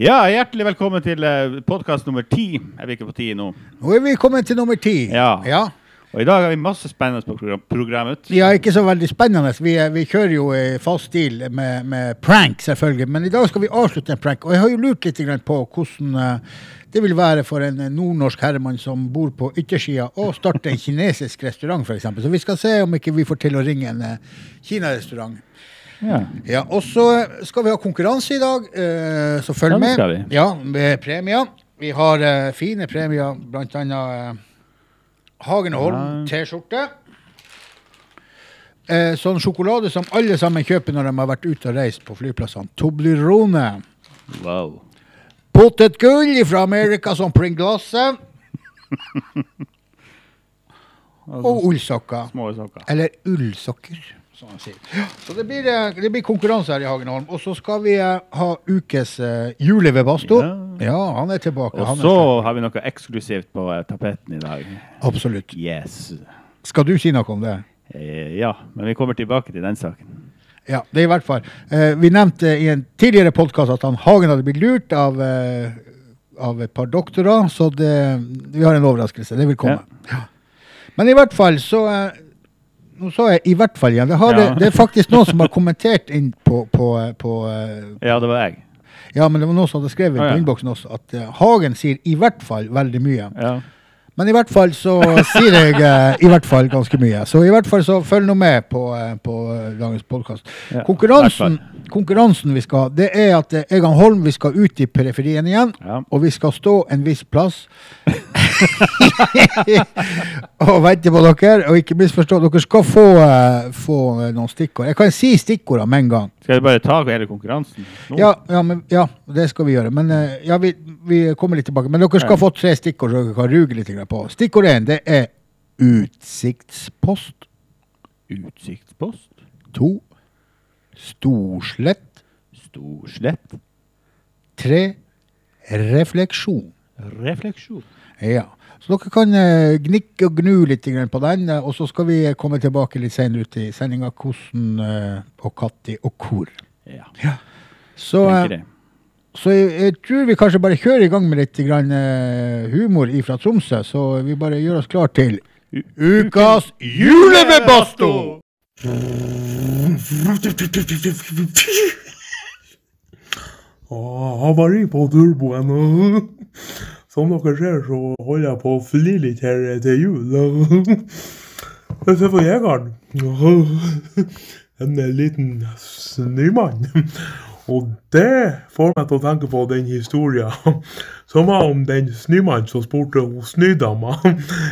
Ja, hjertelig velkommen til podkast nummer ti. Jeg vil ikke på ti nå. Nå er vi kommet til nummer ti. Ja. Ja. Og i dag har vi masse spennende på program- programmet. Ja, ikke så veldig spennende. Vi, eh, vi kjører jo i fast stil med, med prank, selvfølgelig. Men i dag skal vi avslutte en prank. Og jeg har jo lurt litt grann på hvordan eh, det vil være for en eh, nordnorsk herremann som bor på yttersida, å starte en kinesisk restaurant, f.eks. Så vi skal se om ikke vi får til å ringe en eh, kinarestaurant. Ja. Ja, og så eh, skal vi ha konkurranse i dag, eh, så følg Ja, det med. skal vi. Ja, med premier. Vi har eh, fine premier, blant annet eh, Hagen og Holm T-skjorte. Eh, sånn sjokolade som alle sammen kjøper når de har vært ute og reist på flyplassene. Toblerone. Wow. Potetgull fra Amerika som Pringlasse. og ullsokker. Små sokker. Eller ullsokker, som han sier. Så det blir, eh, det blir konkurranse her i Hagenholm. Og så skal vi eh, ha ukes eh, Juli ved Basto. Ja. Ja. han er tilbake. Og han er så sterk. har vi noe eksklusivt på eh, tapeten i dag. Absolutt. Yes. Skal du si noe om det? Eh, Ja, men vi kommer tilbake til den saken. Ja, det er i hvert fall. Eh, vi nevnte i en tidligere podkast at han Hagen hadde blitt lurt av, eh, av et par doktorer, så det, vi har en overraskelse. Det vil komme. Ja. Men i hvert fall så eh, Nå sa jeg 'i hvert fall' igjen. Det, har, Ja. det er faktisk noen som har kommentert inn på, på, eh, på eh, Ja, det var jeg. Ja, men det var noen som hadde skrevet Ah, ja. på innboksen også at eh, Hagen sier i hvert fall veldig mye. Ja. Men i hvert fall så sier jeg eh, i hvert fall ganske mye. Så i hvert fall så følg nå med på, eh, på eh, dagens podkast. Ja, konkurransen, konkurransen vi skal ha, det er at eh, Egan Holm vi skal ut i periferien igjen. Ja. Og vi skal stå en viss plass og vente på dere. Og ikke misforstå, dere skal få, eh, få eh, noen stikkord. Jeg kan si stikkordene med en gang. Skal vi bare ta hele konkurransen? nå? Ja, ja, men, ja, det skal vi gjøre. Men eh, ja, vi, vi kommer litt tilbake. Men dere skal få tre stikkord så dere kan ruge litt grann på. Stikkord én det er utsiktspost. Utsiktspost. To storslett. Storslett. Tre refleksjon. Refleksjon. Ja. Så dere kan eh, gnikke og gnu litt grann på den, eh, og så skal vi eh, komme tilbake litt senere ut i sendinga hvordan eh, og når og hvor. Ja. Så eh, tenker det. Så jeg, jeg tror vi kanskje bare kjører i gang med litt grann, eh, humor fra Tromsø, så vi bare gjør oss klar til U- Ukas julebebasto! Ah, Havari på turboen. ah. Som dere ser, så holder jeg på å fly litt her eh, til jul. ah. Men Se på jegeren. Ah, En liten snømann. Og det får meg til å tenke på den historien som var om den snømannen som spurte hun snødama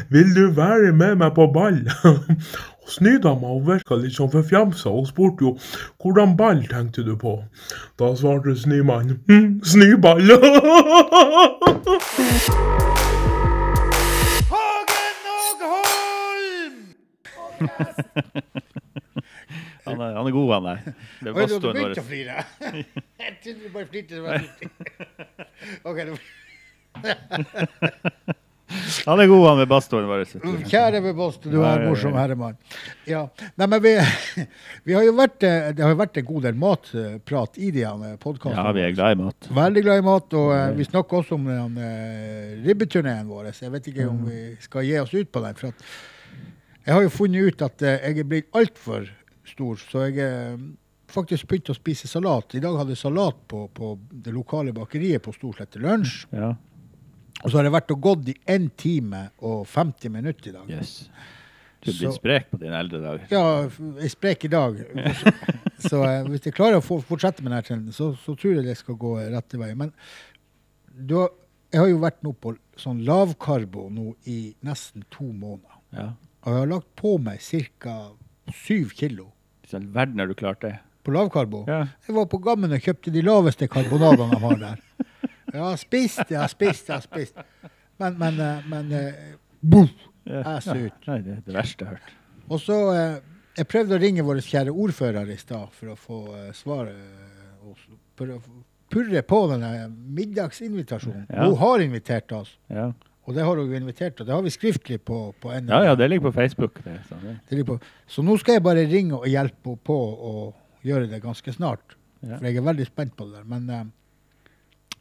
Vil du være med meg på ball. Og Snødama hun virka litt sånn forfjamsa og spurte jo hvordan ball tenkte du på. Da svarte snømannen hm, snøball. Han er, han er god, han der. Det er Oi, du Bastoen vår. begynte å flire. Jeg trodde du bare flirte. det var litt- Ok, det var- Han er god, han med Bastoen vår. vet Mm. du. Kjære bebasto, du Ja, er ja, en ja. morsom herremann. Ja. Nei, men vi, vi har jo vært, eh, det har jo vært en god del matprat i de eh, podkastene. Ja, vi er glad i mat. Veldig glad i mat, og eh, vi snakker også om den uh, ribbeturneen vår. Jeg vet ikke om vi skal gi oss ut på den. For at jeg har jo funnet ut at eh, jeg er blitt altfor stor, så jeg eh, faktisk begynte å spise salat. I dag hadde jeg salat på, på det lokale bakeriet på Storslett til lunsj. Ja. Og så har jeg vært og gått i 1 time og 50 minutter i dag. Yes. Du Så- blir sprek på dine eldre dager. Ja, f- jeg sprek i dag. Så eh, hvis jeg klarer å få- fortsette med denne trenden, så, så tror jeg det skal gå eh, rette veien. Men du, har- jeg har jo vært nå på sånn lavkarbo nå i nesten to måneder. Ja. Og jeg har lagt på meg ca. syv kilo Hvis all verden har du klart det. på lavkarbo. Ja. Jeg var på Gammen og kjøpte de laveste karbonadene de har der. Jeg har spist, jeg har spist, jeg har spist. Men, men, eh, men eh, boom, jeg ser ut. Nei, det er det verste jeg har hørt. Og så eh, Jeg prøvde å ringe vår kjære ordfører i stad for å få eh, svaret eh, og s- For å purre på denne middagsinvitasjonen. Ja. Hun har invitert oss, Ja. og det har hun jo invitert, og det har vi skriftlig på, på en ja ja, det ligger på Facebook. Det, er sånn, det. det ligger på. Så nå skal jeg bare ringe og hjelpe henne på å gjøre det ganske snart. Ja. For jeg er veldig spent på det der. Men eh,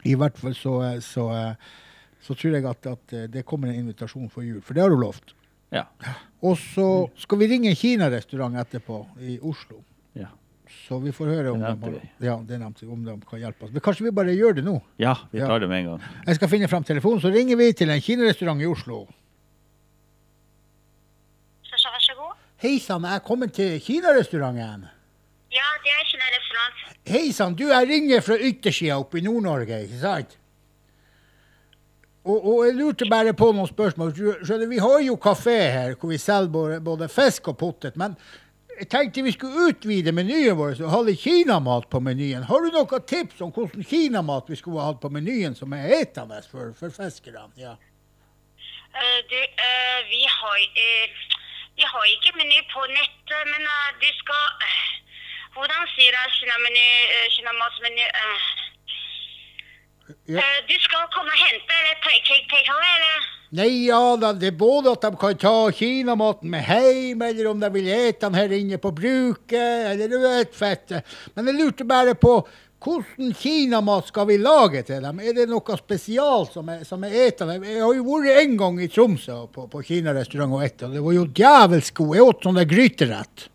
I hvert fall så, eh, så, eh, så tror jeg at, at eh, det kommer en invitasjon for jul, for det har hun lovt. Ja. Og så skal vi ringe en kinarestaurant etterpå i Oslo. Ja. Så vi får høre om, Det nevnte de, ja, det nevnte, vi, om de kan hjelpe oss. Men kanskje vi bare gjør det nå? ja, vi Ja. tar det med en gang. Jeg skal finne fram telefonen, så ringer vi til en kinarestaurant i Oslo. Så, så vær så god. Hei sann, jeg er kommet til kinarestauranten. Ja, det er ikke noe restaurant. Hei sann, du, jeg ringer fra yttersida oppe i Nord-Norge, ikke sant? Og, og jeg lurte bare på noen spørsmål. Du Skjønner, vi har jo kafé her hvor vi selger både, både fisk og potet, men jeg tenkte vi skulle utvide menyen vår og ha litt kinamat på menyen. Har du noen tips om hvordan kinamat vi skulle ha hatt på menyen som er etende for, for fiskerne? Ja. Eh, du, eh, vi har eh, Vi har ikke meny på nettet, men eh, du skal eh, Hvordan sier jeg kinameny uh, Kinamatsmeny eh, Ja. eh, Du skal komme og hente eller take, take, take away, eller? Nei, ja da, det er både at de kan ta kinamaten med hjem, eller om de vil ete den her inne på bruket, eller du vet, fette. Men jeg lurte bare på hvordan kinamat skal vi lage til dem? Er det noe spesialt som er, som er etende? Jeg har jo vært en gang i Tromsø på, på kinarestaurant og ette, og det var jo djevelsk god. Jeg åt sånn der gryterett.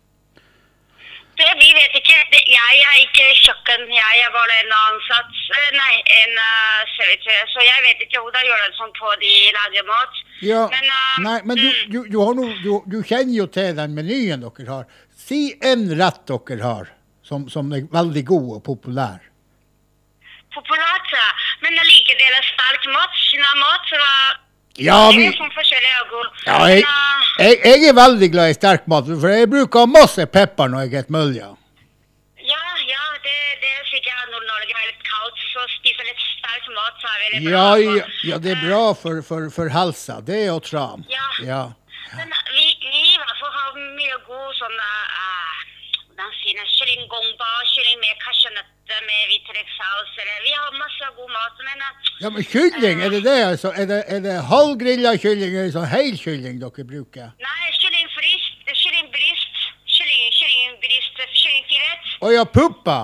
Det, vi vet ikke. Det, jeg er ikke kjøkken. Jeg er bare en ansatt. eh, nei, en eh, servitør. Så jeg vet ikke hvordan de gjør det sånn på de lager mat. Ja, Men, eh, nei, men du, mm. du, du, har noe- du, du kjenner jo til den menyen dere har. Si en rett dere har, som, som er veldig god og populær. populært, ja. men det er like deler sterk mat, kinamat, og Ja, det vi, er sånn forskjellig alkohol. ja jeg, eh, jeg, jeg er veldig glad i sterk mat, for jeg bruker masse pepper når jeg spiser mølja. Ja, ja, det, det er sikkert Nord-Norge er litt kaldt, så spise litt sterk mat så er veldig Ja, bra. altså. ja, ja, det er bra for, for, for helsa. Det og tran. Ja. Ja. Eh, Men vi, vi i hvert fall har mye god sånn eh, eh, Hvordan sier jeg Kylling gomba, kylling med cashewnøtter med hvitløk saus, eller Vi har masse god mat, men eh, ja, men kylling, er det det? Altså? Er det, er det halvgrilla kylling eller sånn hel kylling dere bruker? Nei, kylling fryst, kylling bryst, kylling, kylling bryst, kyllingfilet. Å ja, puppa!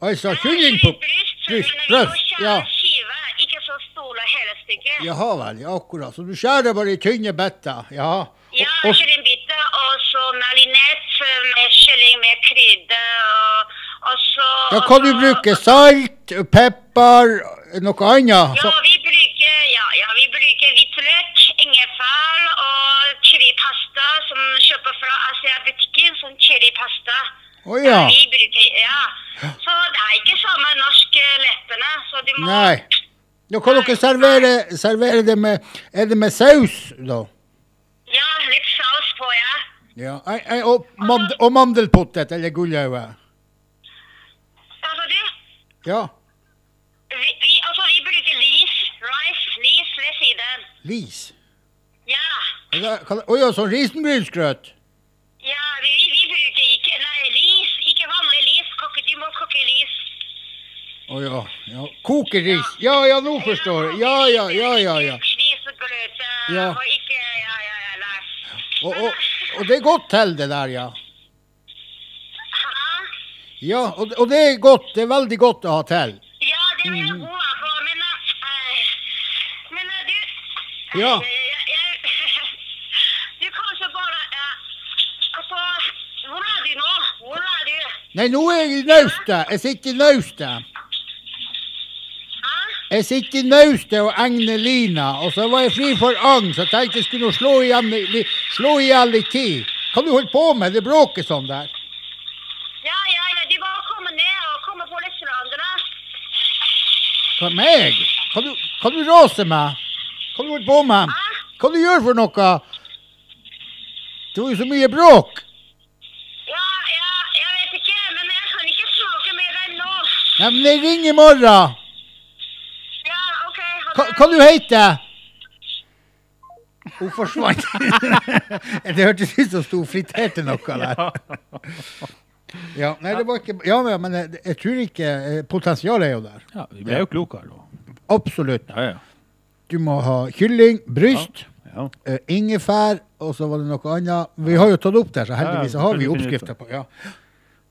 Altså kyllingpupp. Bryst, bryst, ja. Skive, ikke så store hele stykket. Ja, Jaha vel, ja, akkurat. Så du skjærer bare i tynne biter? Ja. Og, og, kyllingbiter, og så marinert med kylling med krydder, og, og så ja, hva altså. du bruker? Salt, pepper, noe annet? Ja, Så, vi bruker, ja, ja, vi bruker hvitløk, ingefær og chilipasta som kjøper fra Asia-butikken, sånn chilipasta. å ja. Vi bruker, ja. Så det er ikke samme norsk eh, lettene, så du må... Nei. Da kan dere servere, servere det med Er det med saus, da? Ja, litt saus på, ja. Ja. ei- ei, Og, mand og mandelpotet eller gulløye. Hva sa du? Ja. Vi, vi, altså, vi bruker lis, rice, lis ved siden. Lis. Ja, Er det- kan- Å ja, sånn risengrynsgrøt. ja, vi, vi bruker ikke, nei, lis, ikke vanlig lis, kokke, du må koke lis. Å ja. ja. Kokeris. Ja ja, nå forstår jeg. Ja ja, ja ja. ja. Svisegløte, Ja. og ikke, ja, ja, ja, nei. Og, og, og det er godt til, det der, ja. Hæ? Ja, og, og det er godt. Det er veldig godt å ha til. Ja, det vil Mm. jeg gå av på, men, eh, men eh, du... Ja. Eh, Jeg, jeg, du kanskje bare, eh, altså, hvor er du nå? Hvor er du? Nei, nå er jeg i naustet. Jeg sitter i naustet. Hæ? Jeg sitter i naustet og egner lina, og så var jeg fri for agn, så tenkte jeg skulle nå slå igjen li- slå i hjel litt tid. Kan du holde på med det bråket sånn der? Ja, ja, ja, du bare kommer ned og kommer på restauranten. da. Hva meg? Kan du, kan du rase meg? Kan du holde på med? Hva du gjør for noe? Det var jo så mye bråk. Ja, ja, jeg vet ikke, men jeg kan ikke snakke med deg nå. Nei, men jeg ringer i morgen. Ja, ok, ha Hva, det. hva du heter du? Hun forsvant. det hørtes ut som hun friterte noe der. Ja, nei, det var ikke, ja, ja, men jeg, jeg tror ikke eh, Potensialet er jo der. Ja, vi ble jo klokere nå. Absolutt. Ja, ja. Du må ha kylling, bryst, ja. eh, ingefær, og så var det noe annet. Vi har jo tatt opp der, så ja, heldigvis har vi selvfølgelig finner oppskrifter på ja.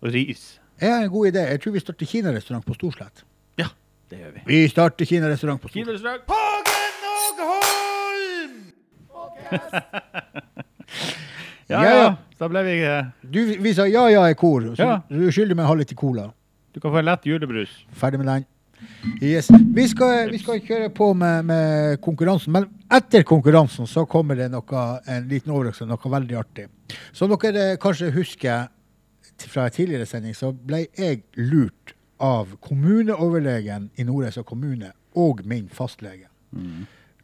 Og ris. Jeg har en god idé. Jeg tror vi starter kinarestaurant på Storslett. Ja. Det gjør vi. Vi starter kinarestaurant på Stord. Kinarestaurant. Ja, Ja, ja. ja. Så da ble vi eh, Du, vi sa ja, ja i kor, så Ja. du skylder meg å ha litt cola. Du kan få en lett julebrus. Ferdig med den. Yes. Vi, skal, vi skal kjøre på med, med konkurransen, men etter konkurransen så kommer det noe, en liten overraskelse, noe veldig artig. Som dere eh, kanskje husker t- fra en tidligere sending, så ble jeg lurt av kommuneoverlegen i Nordreisa kommune og min fastlege.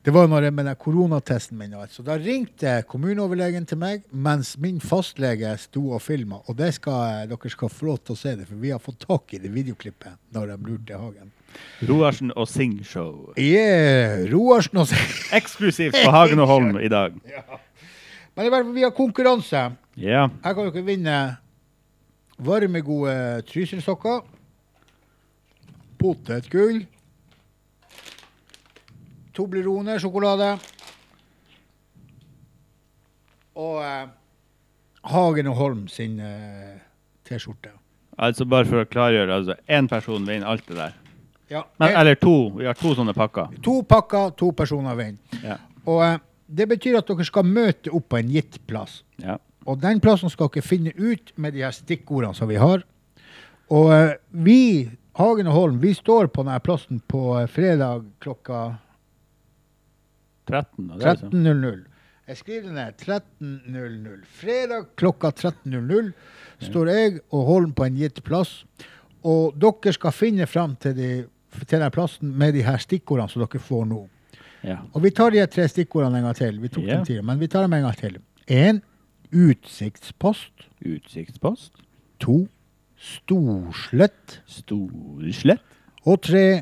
Det var når jeg med den koronatesten min. og alt. Så da ringte kommuneoverlegen til meg, mens min fastlege sto og filma. Og det skal, dere skal få lov til å se det, for vi har fått tak i det videoklippet når de lurte Hagen. Roarsen og Sing-show. Yeah, Roarsen og Seng- Eksklusivt på Hagen og Holm i dag. Men i hvert fall, vi har konkurranse. Ja. Her kan dere vinne varme, gode trysilsokker. Potetgull. Toblerone sjokolade. Og eh, Hagen og Holm sin eh, T-skjorte. Altså bare for å klargjøre, altså én person vinner alt det der. Ja, Men, eh, eller to. Vi har to sånne pakker. to pakker, to personer vinner. Ja. Og eh, det betyr at dere skal møte opp på en gitt plass. ja. Og den plassen skal dere finne ut med de her stikkordene som vi har. Og eh, vi, Hagen og Holm, vi står på denne plassen på eh, fredag klokka 13. Og det er sånn. 13.00. Jeg skriver det ned. 13.00. Fredag klokka 13.00 står jeg og Holm på en gitt plass. Og dere skal finne fram til, de, til den plassen med de her stikkordene som dere får nå. Ja. Og vi tar de her tre stikkordene en gang til. Vi tok Ja. dem tidligere, men vi tar dem en gang til. En, Utsiktspost. Utsiktspost. to storslett Storslett. og tre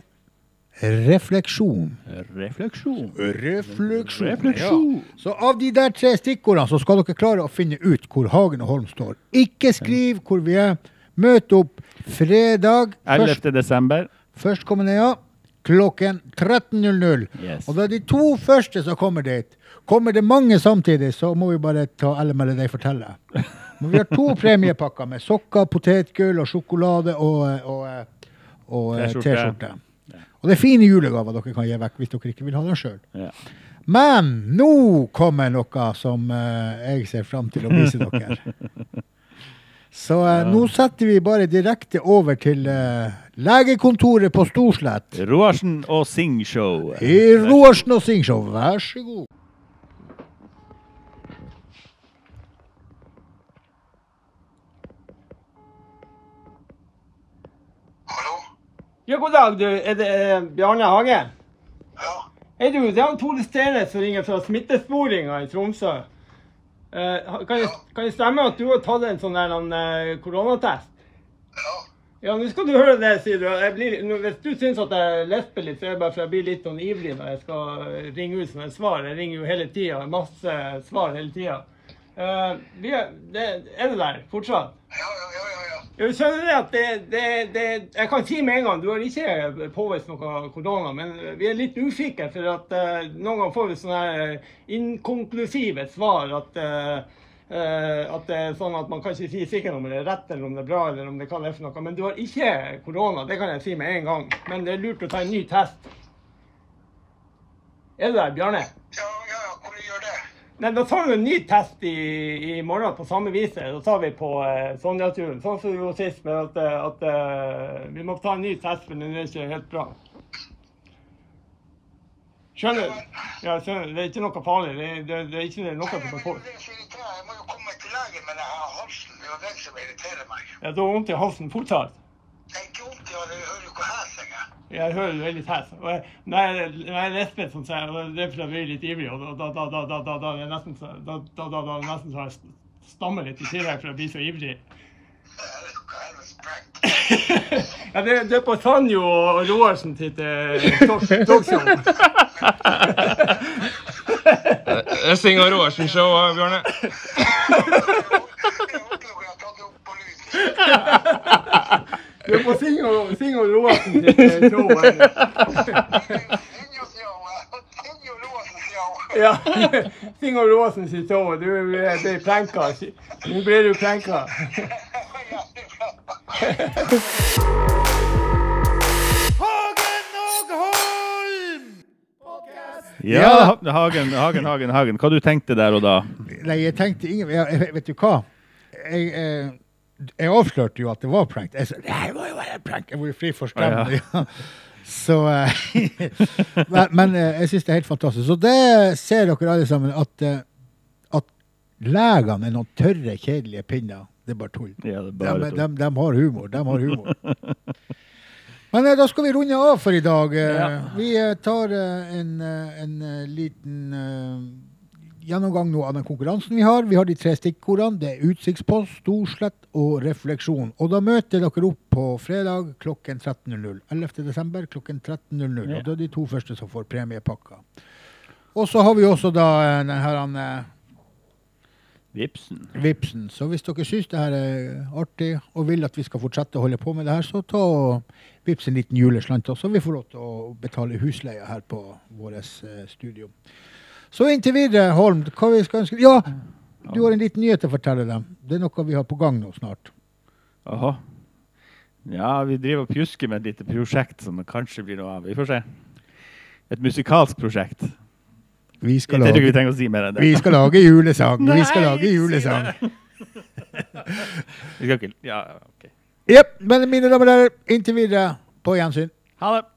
refleksjon. Refleksjon. Refleksjon. Refleksjon. Så av de der tre stikkordene så skal dere klare å finne ut hvor Hagen og Holm står. Ikke skriv hvor vi er. Møt opp fredag først, 11. desember. førstkommende, ja. Klokken 13.00. Yes. Og da de to første som kommer dit, kommer det mange samtidig, så må vi bare ta eller melde deg fortelle. Men vi har to premiepakker med sokker, potetgull og sjokolade og, eh, og, eh, og eh, T-skjorte. T-skjorte. Og det er fine julegaver dere kan gi vekk hvis dere ikke vil ha dem sjøl. Ja. Men nå kommer noe som eh, jeg ser fram til å vise dere. Så eh, nå setter vi bare direkte over til eh, legekontoret på Storslett. Roarsen og Sing-show. I Roarsen og Singshow, vær så god. Hallo? Ja, god dag, du. Er det eh, Bjarne Hage? Ja, Hei, du. Det er han Tore Stene som ringer fra Smittesporinga i Tromsø. Eh, ha- kan, det, kan det stemme at du har tatt en sånn der en, eh, koronatest? ja. Ja, nå skal du høre det, sier du. Jeg blir, nå, hvis du syns at jeg lesper litt, så er det bare for jeg blir litt sånn ivrig når jeg skal eh, ringe ut sånne svar. Jeg ringer jo hele tida. Masse svar hele tida. Eh, vi er, det, er du der fortsatt? Ja, ja, ja, ja, ja. Jo, skjønner du at det, det, det Jeg kan si med en gang, du har ikke påvist noe korona, men vi er litt usikre, for at eh, noen ganger får vi sånne her eh, inkonklusive svar. At, eh, eh, at det er sånn at man kan ikke si sikkert om det er rett, eller om det er bra, eller om det hva det er for noe. Men du har ikke korona, det kan jeg si med en gang. Men det er lurt å ta en ny test. Er du der, Bjarne? Ja, ja, ja, kan du gjøre det? Nei, da tar vi en ny test i, i morgen på samme viset. Da tar vi på eh, Sonja-turen. Sånn som vi gjorde sist, men at, eh, at eh, vi må ta en ny test, for den er ikke helt bra. Skjønner du? Ja, skjønner. du. Det er ikke noe farlig. Det, det, det er ikke noe du Nei, kan men få. det er så irriterende. Jeg må jo komme til legen med det her halsen. Det er jo det som irriterer meg. Jeg har vondt i halsen fortsatt. Det er ikke vondt i hodet, jeg hører jo ikke her, sier jeg. Jeg hører det veldig test. Og jeg, når jeg når jeg er lesbisk, som sier, og det er fordi jeg blir litt ivrig, og da, da, da, da, da, da, er jeg nesten så- da, da, da, da, er jeg nesten så jeg stammer litt i tillegg for jeg blir så ivrig. Det er jo ikke helvetes prank. Ja, det, det er på Sanjo og Roarsen sitt eh, talk- talkshow. Jeg synger Roarsen show, eh, Bjørne. Jeg håper jo jeg har tatt det opp på lyd. Det er på Sing og, Sing og Roarsen sitt eh, show. eh. Tinjo Roasen, sier hun. Ja. Sing og Roarsen sitt show. Du eh, blir pranka. Nå blir du pranka. Ja, det er bra. Hagen Ja, Hagen, Hagen, Hagen, Hagen. Hva du tenkte der og da? Nei, jeg tenkte ingen ja, jeg- Vet du hva? Jeg, eh, jeg avslørte jo at det var prank. Jeg sa det her var jo bare en prank. Jeg var jo fri for Ah, skremmende. Ja. Så eh, Men, men, eh, jeg syns det er helt fantastisk. Så det ser dere alle sammen, at, eh, at legene er noen tørre, kjedelige pinner. Det er bare tull. Ja, det er De, bare de, tull. de, har humor. De har humor. Men eh, da skal vi runde av for i dag. Eh, Vi eh, tar eh, en, eh, en eh, liten eh, gjennomgang nå av den konkurransen vi har. Vi har de tre stikkordene. Det er utsiktspost, Storslett og refleksjon. Og da møter dere opp på fredag klokken 13.00. 11. desember klokken 13.00. Og da er de to første som får premiepakka. Og så har vi også da eh, den her han, eh, Vipsen. Vipsen. Så hvis dere syns det her er artig og vil at vi skal fortsette å holde på med det her, så ta og vips en liten juleslant også. Vi får lov til å betale husleia her på vårt studio. Så inntil videre, Holm, hva vi skal ønske Ja, du har en liten nyhet å fortelle dem. Det er noe vi har på gang nå snart. Aha. Ja, vi driver og pjusker med et lite prosjekt som det kanskje blir noe av. Vi får se. Et musikalsk prosjekt. Vi Jeg skal tror ikke vi lage, trenger å si mer enn det. vi skal lage julesang. Nei, Vi skal lage si julesang. Vi skal ikke... Ja, ok. Jepp. Men mine damer og herrer, inntil videre, på gjensyn. Ha det.